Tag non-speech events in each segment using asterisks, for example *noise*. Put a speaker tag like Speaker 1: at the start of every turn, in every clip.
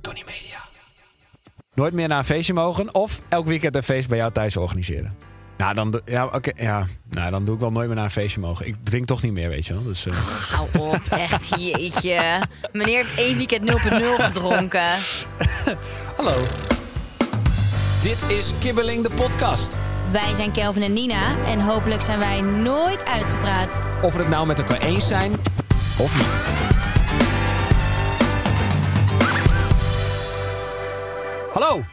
Speaker 1: Tony Media. Nooit meer naar een feestje mogen of elk weekend een feest bij jou thuis organiseren. Nou, dan, doe- ja, oké, ja. Nou, dan doe ik wel nooit meer naar een feestje mogen. Ik drink toch niet meer, weet je wel. Dus, eh,
Speaker 2: Hou op, echt jeetje. Meneer heeft één weekend 0.0 gedronken.
Speaker 1: *laughs* Hallo.
Speaker 3: Dit is Kibbeling de podcast.
Speaker 2: Wij zijn Kelvin en Nina en hopelijk zijn wij nooit uitgepraat.
Speaker 3: Of we het nou met elkaar eens zijn of niet.
Speaker 1: Hallo,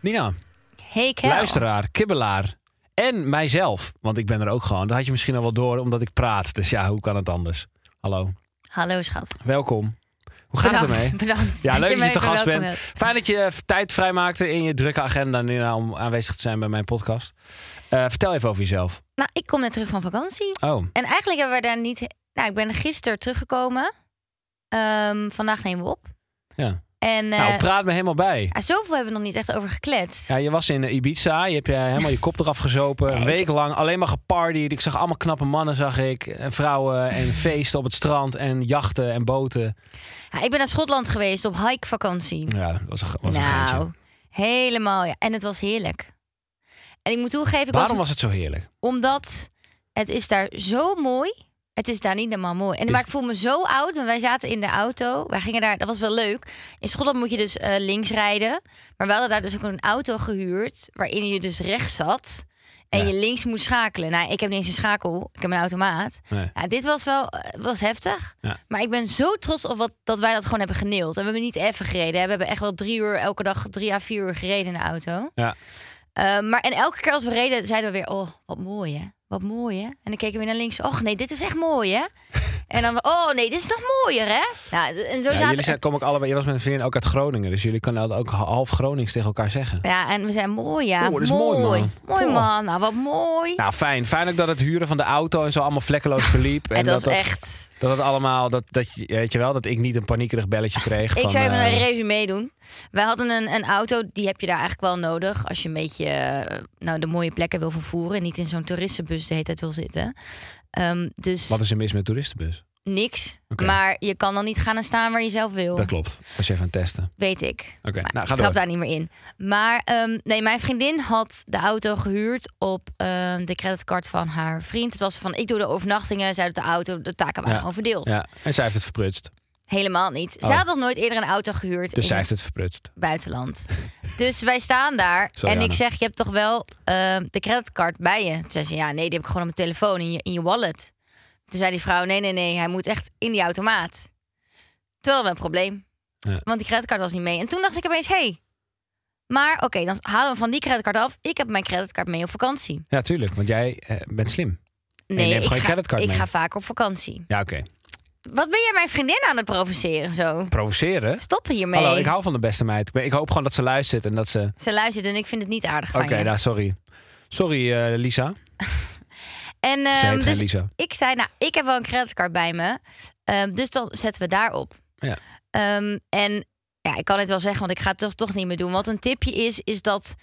Speaker 1: Nina.
Speaker 2: Hey Kel.
Speaker 1: Luisteraar, kibbelaar en mijzelf. Want ik ben er ook gewoon. Dat had je misschien al wel door, omdat ik praat. Dus ja, hoe kan het anders? Hallo,
Speaker 2: Hallo schat.
Speaker 1: welkom. Hoe gaat
Speaker 2: bedankt,
Speaker 1: het ermee?
Speaker 2: bedankt.
Speaker 1: Ja, leuk dat
Speaker 2: mij
Speaker 1: je te gast
Speaker 2: verwelkomt
Speaker 1: bent.
Speaker 2: hebt.
Speaker 1: Fijn dat je eh, tijd vrijmaakte in je drukke agenda Nina, om aanwezig te zijn bij mijn podcast. Eh, vertel even over jezelf.
Speaker 2: Nou, ik kom net terug van vakantie.
Speaker 1: Oh,
Speaker 2: En eigenlijk hebben we daar niet... Nou, ik ben gisteren teruggekomen. Ehm, vandaag nemen we op.
Speaker 1: ja.
Speaker 2: En eh,
Speaker 1: nou, praat me helemaal bij.
Speaker 2: ah, zoveel hebben we nog niet echt over gekletst.
Speaker 1: Ja, je was in eh, Ibiza, je hebt je helemaal je kop eraf gezopen. Een
Speaker 2: Nee, ik-
Speaker 1: week lang alleen maar gepartied. Ik zag allemaal knappe mannen, zag ik. En vrouwen en
Speaker 2: *laughs*
Speaker 1: feesten op het strand en jachten en boten.
Speaker 2: Ah, ik ben naar Schotland geweest op hikevakantie.
Speaker 1: Ja, dat was een, ge- was een geintje.
Speaker 2: nou, helemaal. Ja. En het was heerlijk. En ik moet toegeven, ik
Speaker 1: Waarom
Speaker 2: was,
Speaker 1: was het zo heerlijk?
Speaker 2: omdat het is daar zo mooi. Het is daar niet normaal mooi. En,
Speaker 1: Is
Speaker 2: maar
Speaker 1: het-
Speaker 2: ik voel me zo oud, want wij zaten in de auto. Wij gingen daar, dat was wel leuk. In Schotland moet je dus eh, links rijden. Maar we hadden daar dus ook een auto gehuurd, waarin je dus rechts zat. En
Speaker 1: Ja.
Speaker 2: je links moet schakelen. Nou, ik heb niet eens een schakel. Ik heb een automaat.
Speaker 1: Nee.
Speaker 2: Ja, dit was wel eh, was heftig.
Speaker 1: Ja.
Speaker 2: Maar ik ben zo trots op wat, dat wij dat gewoon hebben geneeld. En we hebben niet even gereden. Hè. We hebben echt wel drie uur elke dag, drie à vier uur gereden in de auto.
Speaker 1: Ja.
Speaker 2: Eh, maar en elke keer als we reden, zeiden we weer: Oh, wat mooi hè. Wat mooi hè. En dan keken we weer naar links. Och nee, dit is echt mooi
Speaker 1: *laughs*
Speaker 2: hè. en dan: Oh nee, dit is nog mooier hè. Nou, d- en zo
Speaker 1: Ja, jullie
Speaker 2: zaten
Speaker 1: zijn, kom ook allebei, je was met een vriendin ook uit Groningen. Dus jullie kunnen dat ook half Gronings tegen elkaar zeggen.
Speaker 2: Ja, en we zijn mooi ja.
Speaker 1: Oh, dit is mooi, man.
Speaker 2: Mooi
Speaker 1: Goh.
Speaker 2: man. Nou, wat mooi.
Speaker 1: Nou, fijn. Fijn ook dat het huren van de auto en zo allemaal vlekkeloos
Speaker 2: *laughs*
Speaker 1: verliep. en
Speaker 2: het was
Speaker 1: dat, dat-
Speaker 2: echt.
Speaker 1: Dat het allemaal, dat, dat, je- weet je wel, dat ik niet een paniekerig belletje kreeg.
Speaker 2: Ik
Speaker 1: van,
Speaker 2: zou even
Speaker 1: eh,
Speaker 2: een resume doen. Wij hadden een, een auto, die heb je daar eigenlijk wel nodig. Als je een beetje eh, nou, de mooie plekken wil vervoeren. En niet in zo'n toeristenbus de hele tijd wil zitten. Ehm, dus
Speaker 1: Wat is er mis met toeristenbus?
Speaker 2: niks.
Speaker 1: Oké.
Speaker 2: Maar je kan dan niet gaan en staan waar je zelf wil.
Speaker 1: Dat klopt. Was je even aan het testen.
Speaker 2: Weet ik.
Speaker 1: Oké,
Speaker 2: Oh. Maar
Speaker 1: nou
Speaker 2: ik
Speaker 1: ga
Speaker 2: trap
Speaker 1: door.
Speaker 2: daar niet meer in. Maar ehm, nee, mijn vriendin had de auto gehuurd op ehm, de creditcard van haar vriend. Het was van, ik doe de overnachtingen. Zij doet de auto, de taken waren
Speaker 1: Ja.
Speaker 2: gewoon verdeeld.
Speaker 1: Ja, en zij heeft het verprutst.
Speaker 2: Helemaal niet. Zij
Speaker 1: Oh.
Speaker 2: had nog nooit eerder een auto gehuurd.
Speaker 1: Dus
Speaker 2: in
Speaker 1: zij
Speaker 2: een
Speaker 1: heeft het verprutst.
Speaker 2: buitenland. *laughs* Dus wij staan daar
Speaker 1: Sorry,
Speaker 2: en ik
Speaker 1: Anne.
Speaker 2: zeg, je hebt toch wel eh, de creditcard bij je? Toen zei ze, ja, nee, die heb ik gewoon op mijn telefoon in je, in je wallet. Toen zei die vrouw, nee, nee, nee, hij moet echt in die automaat. Toen hadden we een probleem,
Speaker 1: Ja.
Speaker 2: want die creditcard was niet mee. En toen dacht ik opeens, hé, hey, maar oké, dan halen we van die creditcard af. Ik heb mijn creditcard mee op vakantie.
Speaker 1: Ja, tuurlijk. Want jij eh, bent slim. je neemt
Speaker 2: ik,
Speaker 1: gewoon je
Speaker 2: ga,
Speaker 1: creditcard
Speaker 2: ik
Speaker 1: mee.
Speaker 2: ga vaak op vakantie.
Speaker 1: Ja, oké.
Speaker 2: Wat ben jij mijn vriendin aan het provoceren zo?
Speaker 1: Provoceren?
Speaker 2: Stop hiermee.
Speaker 1: Hallo, ik hou van de beste meid. Ik ben- Ik hoop gewoon dat ze luistert en dat ze... Oké,
Speaker 2: Ze luistert en ik vind het niet aardig van je.
Speaker 1: nou, sorry. Sorry, eh, Lisa.
Speaker 2: En
Speaker 1: Ze
Speaker 2: ehm,
Speaker 1: heet geen
Speaker 2: dus
Speaker 1: Lisa.
Speaker 2: ik zei, nou, ik heb wel een creditcard bij me. Ehm, dus dan zetten we daarop.
Speaker 1: Ja.
Speaker 2: Ehm, en ja, ik kan het wel zeggen, want ik ga het toch, toch niet meer doen. Wat een tipje is, is dat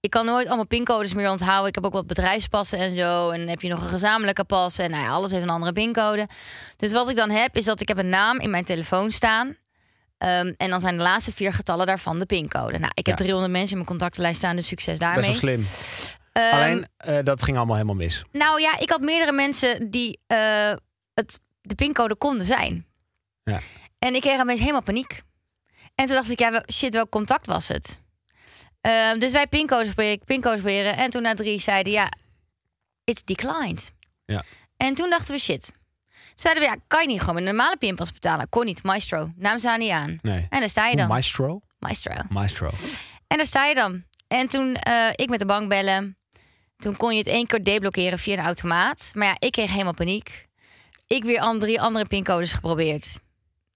Speaker 2: ik kan nooit allemaal pincodes meer onthouden. Ik heb ook wat bedrijfspassen en zo. En dan heb je nog een gezamenlijke pas. En nou ja, alles heeft een andere pincode. Dus wat ik dan heb, is dat ik heb een naam in mijn telefoon staan. Ehm, en dan zijn de laatste vier getallen daarvan de pincode. Nou, ik heb
Speaker 1: Ja.
Speaker 2: 300 mensen in mijn contactenlijst staan, dus succes daarmee.
Speaker 1: Best wel slim.
Speaker 2: Ehm,
Speaker 1: Alleen, eh, dat ging allemaal helemaal mis.
Speaker 2: nou ja, ik had meerdere mensen die eh, het, de pincode konden zijn.
Speaker 1: Ja.
Speaker 2: En ik kreeg opeens helemaal paniek. En toen dacht ik, ja, wel- shit, welk contact was het? Ehm, dus wij pincodes proberen, pincodes proberen. En toen na drie zeiden, ja, it's declined.
Speaker 1: Ja.
Speaker 2: En toen dachten we, shit. Toen zeiden we, ja, kan je niet gewoon met een normale pinpas betalen? Kon niet, Maestro. Naam staan niet aan.
Speaker 1: Nee.
Speaker 2: En daar sta je dan,
Speaker 1: Maestro?
Speaker 2: Maestro.
Speaker 1: Maestro.
Speaker 2: En daar sta je dan. En toen eh, ik met de bank bellen. Toen kon je het één keer deblokkeren via een automaat. Maar ja, ik kreeg helemaal paniek. Ik weer an- drie andere pincodes geprobeerd.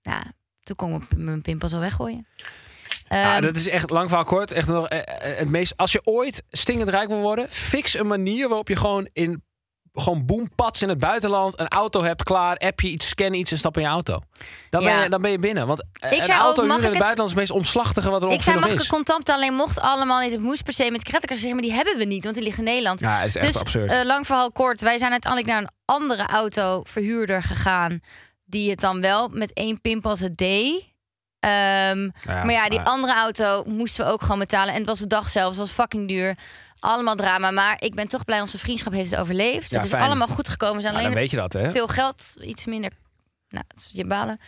Speaker 2: Nou, Toen kon ik mijn p- mijn pinpas al weggooien.
Speaker 1: Ja,
Speaker 2: Ehm,
Speaker 1: dat is echt lang verhaal kort. Echt nog, eh, eh, het meest, als je ooit stinkend rijk wil worden, fix een manier waarop je gewoon in gewoon boempads in het buitenland een auto hebt klaar, app je iets, scan iets en stap in je auto. Dan, ben,
Speaker 2: Ja.
Speaker 1: je, dan ben je binnen. Want eh,
Speaker 2: Ik
Speaker 1: een
Speaker 2: zei ook,
Speaker 1: auto
Speaker 2: mag
Speaker 1: huren in
Speaker 2: ik
Speaker 1: het
Speaker 2: het-
Speaker 1: buitenland is het meest omslachtige wat er
Speaker 2: ik
Speaker 1: ongeveer
Speaker 2: zei,
Speaker 1: nog
Speaker 2: mag ik een
Speaker 1: is.
Speaker 2: contant alleen? Mocht allemaal niet. Het moest per se met creditcard zeggen, maar die hebben we niet, want die liggen in Nederland.
Speaker 1: Ja, het is echt
Speaker 2: dus,
Speaker 1: absurd.
Speaker 2: eh, lang verhaal kort. Wij zijn uiteindelijk naar een andere autoverhuurder gegaan. Die het dan wel met één pinpas het deed. Ehm,
Speaker 1: Ja,
Speaker 2: maar ja, die
Speaker 1: maar-
Speaker 2: andere auto moesten we ook gewoon betalen. En het was de dag zelf. Het was fucking duur. Allemaal drama. Maar ik ben toch blij. Onze vriendschap heeft het overleefd.
Speaker 1: Ja,
Speaker 2: het is
Speaker 1: fijn.
Speaker 2: allemaal goed gekomen. We zijn
Speaker 1: Ja, dan
Speaker 2: alleen
Speaker 1: weet je dat, hè?
Speaker 2: veel geld. Iets minder. Nou, het is je balen.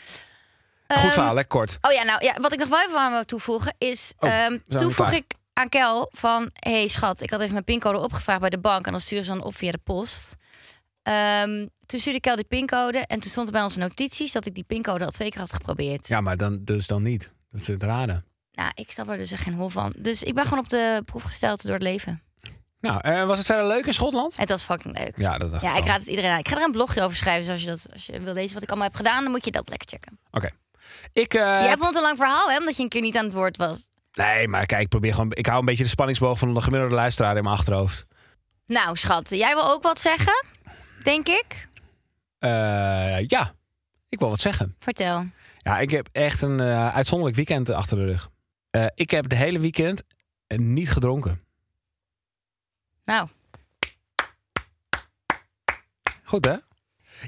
Speaker 1: Goed
Speaker 2: Ehm,
Speaker 1: verhaal, lekker kort.
Speaker 2: Oh ja, nou ja, wat ik nog wel even aan wil toevoegen is.
Speaker 1: Oh,
Speaker 2: ehm,
Speaker 1: we
Speaker 2: toen
Speaker 1: nog
Speaker 2: vroeg
Speaker 1: klaar.
Speaker 2: ik aan Kel van: hey, schat, ik had even mijn pincode opgevraagd bij de bank. En dan sturen ze dan op via de post. Ehm, toen stuurde Kel die pincode. En toen stond er bij onze notities dat ik die pincode al twee keer had geprobeerd.
Speaker 1: Ja, maar dan, dus dan niet. Dat is het raden.
Speaker 2: Nou, ik snap er dus echt geen hol van. Dus ik ben gewoon op de proef gesteld door het leven.
Speaker 1: Nou, eh, was het verder leuk in Schotland?
Speaker 2: Het was fucking leuk.
Speaker 1: Ja, dat dacht
Speaker 2: Ja,
Speaker 1: ik
Speaker 2: ik
Speaker 1: al.
Speaker 2: raad het iedereen aan. Ik ga er een blogje over schrijven. Dus als je, dat, als je wil lezen wat ik allemaal heb gedaan, dan moet je dat lekker checken.
Speaker 1: Oké. Ik, eh,
Speaker 2: Jij vond het een lang verhaal, hè? Omdat je een keer niet aan het woord was.
Speaker 1: Nee, maar kijk, ik probeer gewoon... Ik hou een beetje de spanningsboog van de gemiddelde luisteraar in mijn achterhoofd.
Speaker 2: Nou, schat, jij wil ook wat zeggen? Denk ik.
Speaker 1: Eh, ja, ik wil wat zeggen.
Speaker 2: Vertel.
Speaker 1: Ja, ik heb echt een eh, uitzonderlijk weekend achter de rug. Eh, ik heb de hele weekend eh, niet gedronken.
Speaker 2: Nou,
Speaker 1: Goed, hè?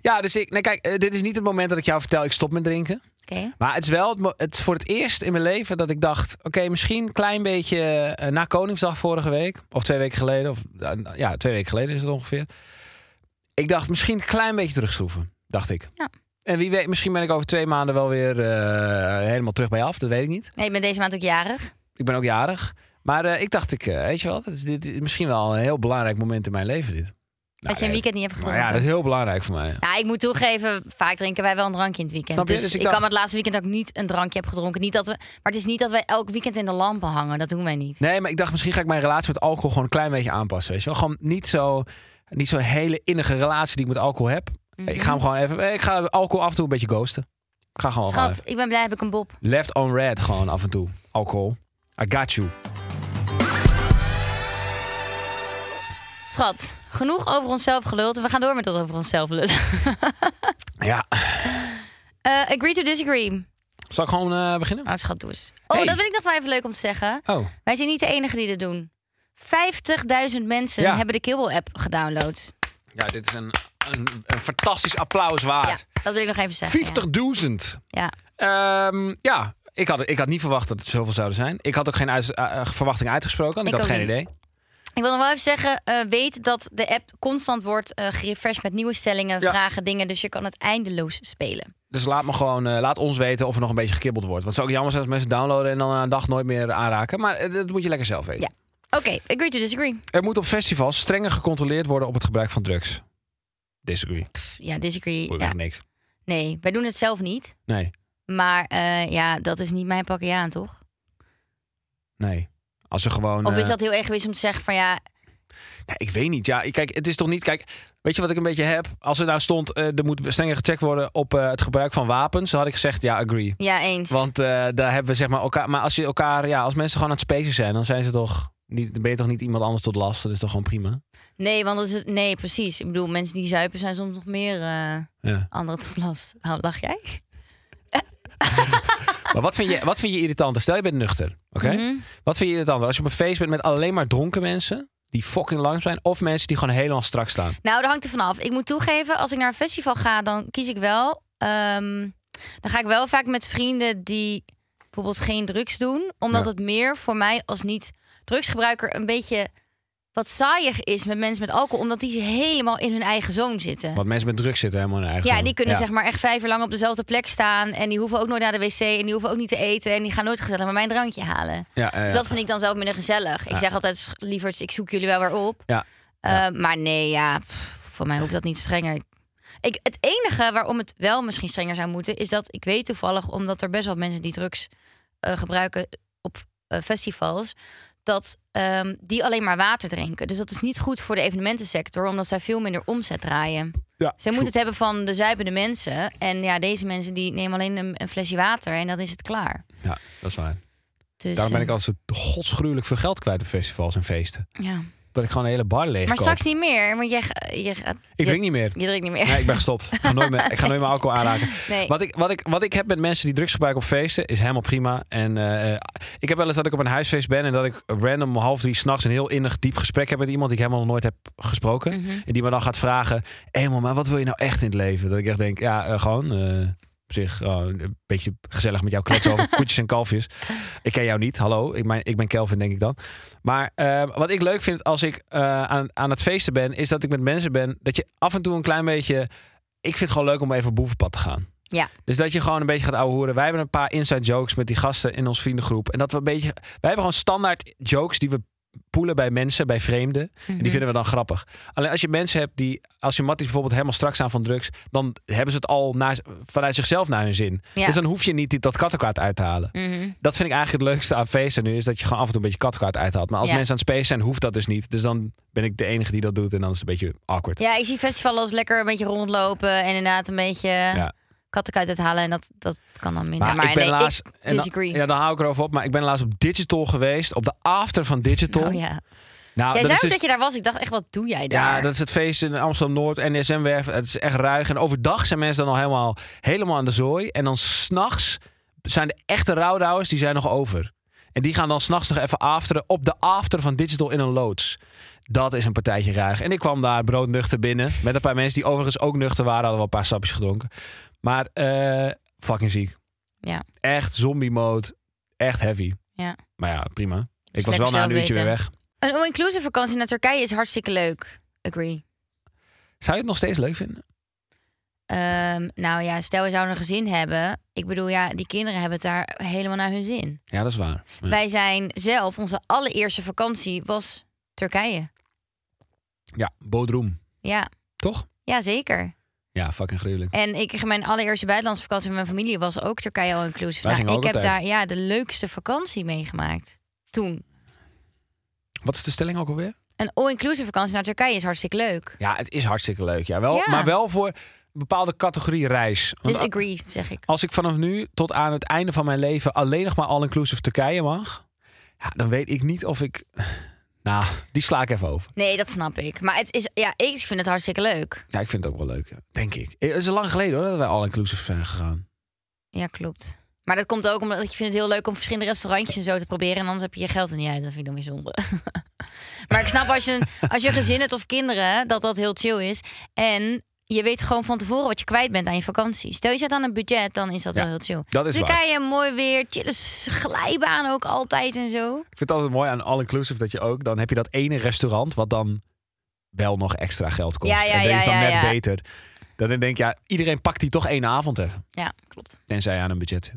Speaker 1: Ja, dus ik... Nee, kijk, eh, dit is niet het moment dat ik jou vertel... ik stop met drinken.
Speaker 2: oké.
Speaker 1: Maar het is wel het, mo- het is voor het eerst in mijn leven dat ik dacht... oké, misschien een klein beetje eh, na Koningsdag vorige week... of twee weken geleden, of eh, ja, twee weken geleden is het ongeveer. Ik dacht, misschien een klein beetje terugschroeven, dacht ik.
Speaker 2: Ja.
Speaker 1: En wie weet, misschien ben ik over twee maanden wel weer eh, helemaal terug bij je af. Dat weet ik niet.
Speaker 2: Nee, ik ben deze maand ook jarig.
Speaker 1: Ik ben ook jarig. Maar eh, ik dacht, ik, eh, weet je wat, dit is, dit is misschien wel een heel belangrijk moment in mijn leven dit. Nou,
Speaker 2: dat je een
Speaker 1: nee,
Speaker 2: weekend niet hebt
Speaker 1: maar
Speaker 2: gedronken.
Speaker 1: ja,
Speaker 2: ja,
Speaker 1: dat is heel belangrijk voor mij.
Speaker 2: ik moet toegeven, vaak drinken wij wel een drankje in het weekend.
Speaker 1: Snap je?
Speaker 2: Dus,
Speaker 1: Dus ik
Speaker 2: ik,
Speaker 1: dacht-
Speaker 2: kan het laatste weekend ook niet een drankje heb gedronken. Niet dat we, maar het is niet dat wij elk weekend in de lampen hangen. Dat doen wij niet.
Speaker 1: Nee, maar ik dacht, misschien ga ik mijn relatie met alcohol gewoon een klein beetje aanpassen. Weet je wel? Gewoon niet zo, niet zo'n hele innige relatie die ik met alcohol heb.
Speaker 2: Mhm.
Speaker 1: Ik ga hem gewoon even, eh, ik ga alcohol af en toe een beetje ghosten. Ik ga gewoon, gewoon
Speaker 2: Schat, ik ben blij heb ik een bob.
Speaker 1: even- left on red gewoon af en toe. Alcohol. I got you.
Speaker 2: Schat, genoeg over onszelf geluld. We gaan door met dat over onszelf lullen. *laughs*
Speaker 1: Ja,
Speaker 2: Eh, agree to disagree.
Speaker 1: zal ik gewoon eh, beginnen?
Speaker 2: Nou, schat, doe eens. Oh,
Speaker 1: Hey.
Speaker 2: dat vind ik nog wel even leuk om te zeggen.
Speaker 1: Oh,
Speaker 2: Wij zijn niet de enige die dit doen. 50.000 mensen
Speaker 1: Ja.
Speaker 2: hebben de Kibbel-app gedownload.
Speaker 1: ja, dit is een, een, een fantastisch applaus
Speaker 2: Ja,
Speaker 1: waard.
Speaker 2: dat wil ik nog even zeggen.
Speaker 1: 50.000.
Speaker 2: ja. Ja.
Speaker 1: Ehm, ja, ik had, ik had niet verwacht dat het zoveel zouden zijn. Ik had ook geen uits- eh, eh, verwachting uitgesproken, want ik,
Speaker 2: Ik
Speaker 1: had
Speaker 2: ook
Speaker 1: geen
Speaker 2: niet.
Speaker 1: idee.
Speaker 2: Ik wil nog wel even zeggen, eh, weet dat de app constant wordt eh gerefreshed met nieuwe stellingen,
Speaker 1: Ja.
Speaker 2: vragen, dingen. Dus je kan het eindeloos spelen.
Speaker 1: Dus laat, me gewoon, eh, laat ons weten of er nog een beetje gekibbeld wordt. Want het zou ook jammer zijn als mensen downloaden en dan na een dag nooit meer aanraken. Maar eh, dat moet je lekker zelf weten.
Speaker 2: Ja. Oké, agree to disagree.
Speaker 1: Er moet op festivals strenger gecontroleerd worden op het gebruik van drugs. Disagree.
Speaker 2: Pff, Ja, disagree.
Speaker 1: Boeit
Speaker 2: Ja.
Speaker 1: echt niks.
Speaker 2: Nee, wij doen het zelf niet.
Speaker 1: Nee,
Speaker 2: Maar eh, ja, dat is niet mijn pakje aan, toch?
Speaker 1: nee. Als er gewoon...
Speaker 2: Of is
Speaker 1: eh,
Speaker 2: dat heel erg geweest om te zeggen van ja,
Speaker 1: Ja, ik weet niet. Ja, ik- kijk, het is toch niet. Kijk, weet je wat ik een beetje heb? Als er nou stond, eh, er moet strenger gecheckt worden op eh, het gebruik van wapens, dan had ik gezegd, ja, agree.
Speaker 2: ja eens.
Speaker 1: Want eh, daar hebben we zeg maar elkaar. Maar als je elkaar, ja, als mensen gewoon aan het spacen zijn, dan zijn ze toch. Niet, dan ben je toch niet iemand anders tot last. Dat is toch gewoon prima.
Speaker 2: Nee, want dat is het, nee, precies. Ik bedoel, mensen die zuipen zijn soms nog meer eh
Speaker 1: Ja.
Speaker 2: anderen tot last. Waarom lach jij?
Speaker 1: Maar wat vind, je, wat vind je irritanter? Stel je bent nuchter. Oké?
Speaker 2: Mhm.
Speaker 1: Wat vind je irritanter? Als je op een feest bent met alleen maar dronken mensen die fucking lang zijn, of mensen die gewoon helemaal strak staan.
Speaker 2: Nou, dat hangt er vanaf. Ik moet toegeven, als ik naar een festival ga, dan kies ik wel. ehm, dan ga ik wel vaak met vrienden die bijvoorbeeld geen drugs doen. Omdat
Speaker 1: Ja.
Speaker 2: het meer voor mij als niet-drugsgebruiker een beetje wat saaiig is met mensen met alcohol. Omdat die helemaal in hun eigen zoon zitten.
Speaker 1: Want mensen met drugs zitten helemaal in hun eigen.
Speaker 2: Ja,
Speaker 1: zone.
Speaker 2: die kunnen zeg maar echt vijf uur lang op dezelfde plek staan. En die hoeven ook nooit naar de wc. En die hoeven ook niet te eten. En die gaan nooit gezellig met mijn drankje halen.
Speaker 1: Ja, ja, ja.
Speaker 2: Dus dat vind ik dan zelf minder gezellig. Ik zeg altijd, lieverds, ik zoek jullie wel weer op.
Speaker 1: Ja.
Speaker 2: Uh, Maar nee, ja, pff, voor mij hoeft dat niet strenger. Ik, het enige waarom het wel misschien strenger zou moeten, is dat ik weet toevallig, omdat er best wel mensen die drugs eh, gebruiken op eh, festivals, dat ehm, die alleen maar water drinken. Dus dat is niet goed voor de evenementensector, omdat zij veel minder omzet draaien.
Speaker 1: Ja,
Speaker 2: Ze moeten het hebben van de zuipende mensen. En ja, deze mensen die nemen alleen een, een flesje water en dan is het klaar.
Speaker 1: Ja, dat is waar.
Speaker 2: Dus,
Speaker 1: Daarom ben ik
Speaker 2: eh,
Speaker 1: al zo godsgruwelijk veel geld kwijt op festivals en feesten.
Speaker 2: ja.
Speaker 1: Dat ik gewoon een hele bar leeg
Speaker 2: Maar straks niet meer, want jij, ga- je, gaat-
Speaker 1: Ik
Speaker 2: je,
Speaker 1: drink niet meer.
Speaker 2: je drinkt niet meer.
Speaker 1: Nee, ik ben gestopt. Ik ga nooit meer, ik ga nooit meer alcohol aanraken.
Speaker 2: *laughs* Nee.
Speaker 1: Wat, ik, wat, ik, wat ik heb met mensen die drugs gebruiken op feesten is helemaal prima. En eh, eh, ik heb wel eens dat ik op een huisfeest ben en dat ik random om half drie s'nachts een heel innig diep gesprek heb met iemand die ik helemaal nog nooit heb gesproken. En die me dan gaat vragen: Hé, man, maar wat wil je nou echt in het leven? Dat ik echt denk: Ja, eh, gewoon. eh, op zich oh, een beetje gezellig met jou kletsen over koetjes en kalfjes. Ik ken jou niet, hallo. Ik ben, ik ben Kelvin, denk ik dan. Maar eh, wat ik leuk vind als ik eh, aan, aan het feesten ben... is dat ik met mensen ben... dat je af en toe een klein beetje... Ik vind het gewoon leuk om even op boevenpad te gaan.
Speaker 2: Ja.
Speaker 1: Dus dat je gewoon een beetje gaat ouwehoeren. Wij hebben een paar inside jokes met die gasten in ons vriendengroep. En dat we een beetje... Wij hebben gewoon standaard jokes die we poelen bij mensen, bij vreemden. En
Speaker 2: Mhm.
Speaker 1: die vinden we dan grappig. Alleen als je mensen hebt die... Als je matties bijvoorbeeld helemaal straks aan van drugs... dan hebben ze het al naar, vanuit zichzelf naar hun zin.
Speaker 2: Ja.
Speaker 1: Dus dan hoef je niet die, dat kattenkaart uit te halen.
Speaker 2: Mhm.
Speaker 1: Dat vind ik eigenlijk het leukste aan feesten nu... is dat je gewoon af en toe een beetje kattenkaart uithaalt. Maar als
Speaker 2: Ja.
Speaker 1: mensen aan het space zijn, hoeft dat dus niet. Dus dan ben ik de enige die dat doet. En dan is het een beetje awkward.
Speaker 2: Ja, ik zie festivals als lekker een beetje rondlopen en inderdaad een beetje
Speaker 1: Ja.
Speaker 2: kattenkuit uithalen. En dat, dat kan dan minder.
Speaker 1: Maar,
Speaker 2: Maar
Speaker 1: ik ben
Speaker 2: nee,
Speaker 1: laatst. en dan-
Speaker 2: disagree.
Speaker 1: ja, dan hou ik erover op. Maar ik ben laatst op Digital geweest. Op de after van Digital.
Speaker 2: Oh ja.
Speaker 1: Nou,
Speaker 2: Jij
Speaker 1: dat
Speaker 2: zei
Speaker 1: is
Speaker 2: ook
Speaker 1: dus-
Speaker 2: dat je daar was. Ik dacht echt, wat doe jij daar?
Speaker 1: ja, dat is het feest in Amsterdam Noord, NSM-werf. Het is echt ruig. En overdag zijn mensen dan al helemaal, helemaal aan de zooi. En dan s'nachts zijn de echte rouwdouwers, die zijn nog over. En die gaan dan s'nachts nog even afteren op de after van Digital in een loods. Dat is een partijtje ruig. En ik kwam daar broodnuchter binnen. Met een paar mensen die overigens ook nuchter waren. Hadden wel een paar sapjes gedronken. Maar eh, fucking ziek.
Speaker 2: Ja.
Speaker 1: Echt zombie mode. Echt heavy.
Speaker 2: Ja.
Speaker 1: Maar ja, prima. Ik
Speaker 2: Dus
Speaker 1: was
Speaker 2: lekker
Speaker 1: wel na een
Speaker 2: zelf
Speaker 1: uurtje weer
Speaker 2: weten.
Speaker 1: weg.
Speaker 2: Een all-inclusive vakantie naar Turkije is hartstikke leuk. Agree.
Speaker 1: Zou je het nog steeds leuk vinden?
Speaker 2: Ehm, nou ja, stel we zouden een gezin hebben. Ik bedoel, ja, die kinderen hebben het daar helemaal naar hun zin.
Speaker 1: Ja, dat is waar. Ja.
Speaker 2: Wij zijn zelf, onze allereerste vakantie was Turkije.
Speaker 1: Ja, Bodrum.
Speaker 2: Ja,
Speaker 1: Toch?
Speaker 2: ja zeker.
Speaker 1: Ja, fucking gruwelijk.
Speaker 2: En ik, mijn allereerste buitenlandse vakantie met mijn familie was ook Turkije all inclusive.
Speaker 1: Wij
Speaker 2: Nou,
Speaker 1: gingen
Speaker 2: ik
Speaker 1: ook
Speaker 2: heb
Speaker 1: altijd.
Speaker 2: daar ja, de leukste vakantie meegemaakt. Toen.
Speaker 1: Wat is de stelling ook alweer?
Speaker 2: Een all-inclusive vakantie naar Turkije is hartstikke leuk.
Speaker 1: Ja, het is hartstikke leuk. Ja, wel,
Speaker 2: Ja.
Speaker 1: Maar wel voor een bepaalde categorie reis. Want
Speaker 2: Dus
Speaker 1: a-
Speaker 2: agree, zeg ik.
Speaker 1: als ik vanaf nu tot aan het einde van mijn leven alleen nog maar all-inclusive Turkije mag, ja, dan weet ik niet of ik. Nou, die sla ik even over.
Speaker 2: Nee, dat snap ik. Maar het is, ja, ik vind het hartstikke leuk.
Speaker 1: Ja, ik vind het ook wel leuk, denk ik. Eh, Het is lang geleden hoor dat wij all-inclusive zijn gegaan.
Speaker 2: Ja, klopt. Maar dat komt ook omdat ik vind het heel leuk om verschillende restaurantjes en zo te proberen. En anders heb je je geld er niet uit. Dat vind ik dan weer zonde. *laughs* maar ik snap als je, een- als je een gezin hebt of kinderen, dat dat heel chill is. En je weet gewoon van tevoren wat je kwijt bent aan je vakantie. Stel je zet aan een budget, dan is dat
Speaker 1: Ja,
Speaker 2: wel heel chill. Dus
Speaker 1: dat is waar.
Speaker 2: Turkije, mooi weer, chille s- glijbaan ook altijd en zo.
Speaker 1: Ik vind het altijd mooi aan all-inclusive dat je ook, dan heb je dat ene restaurant wat dan wel nog extra geld kost.
Speaker 2: Ja, ja,
Speaker 1: en deze
Speaker 2: ja,
Speaker 1: is dan
Speaker 2: ja,
Speaker 1: net
Speaker 2: ja.
Speaker 1: beter. Dan denk ik, ja, iedereen pakt die toch één avond even.
Speaker 2: Ja, klopt.
Speaker 1: Tenzij je aan een budget zit.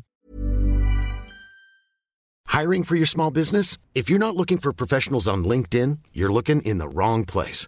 Speaker 4: Hiring for your small business? If you're not looking for professionals on LinkedIn, you're looking in the wrong place.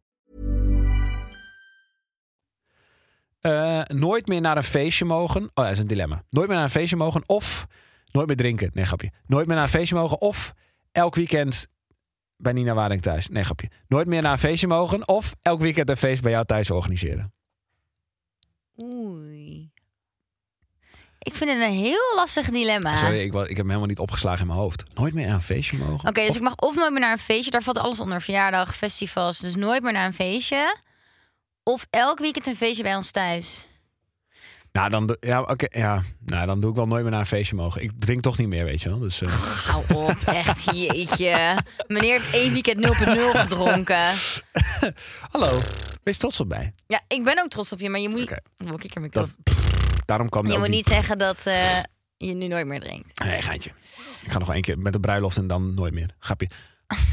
Speaker 1: Eh, nooit meer naar een feestje mogen. Oh, dat is een dilemma. Nooit meer naar een feestje mogen of nooit meer drinken. Nee, grapje. Nooit meer naar een feestje mogen of elk weekend bij Nina Waring thuis. Nee, grapje. Nooit meer naar een feestje mogen of elk weekend een feest bij jou thuis organiseren.
Speaker 2: Oei. Ik vind het een heel lastig dilemma.
Speaker 1: Sorry, ik, wa- ik heb hem helemaal niet opgeslagen in mijn hoofd. Nooit meer naar een feestje mogen.
Speaker 2: Oké, dus ik mag of nooit meer naar een feestje. Daar valt alles onder. Verjaardag, festivals. Dus nooit meer naar een feestje. Of elk weekend een feestje bij ons thuis.
Speaker 1: Nou, dan, doe- ja, oké, ja. nou, dan doe ik wel nooit meer naar een feestje mogen. Ik drink toch niet meer, weet je wel. Dus, eh,
Speaker 2: Hou op, echt jeetje. Meneer heeft één weekend 0.0 gedronken.
Speaker 1: *laughs* Hallo, wees trots op mij.
Speaker 2: Ja, ik ben ook trots op je, maar je moet...
Speaker 1: Oké.
Speaker 2: Wow, kijk er maar
Speaker 1: Dat,
Speaker 2: op.
Speaker 1: daarom kwam
Speaker 2: je
Speaker 1: ook
Speaker 2: moet
Speaker 1: die-
Speaker 2: niet zeggen dat eh, je nu nooit meer drinkt.
Speaker 1: Nee, gaatje. Ik ga nog wel één keer met de *laughs* bruiloft en dan nooit meer. Grapje.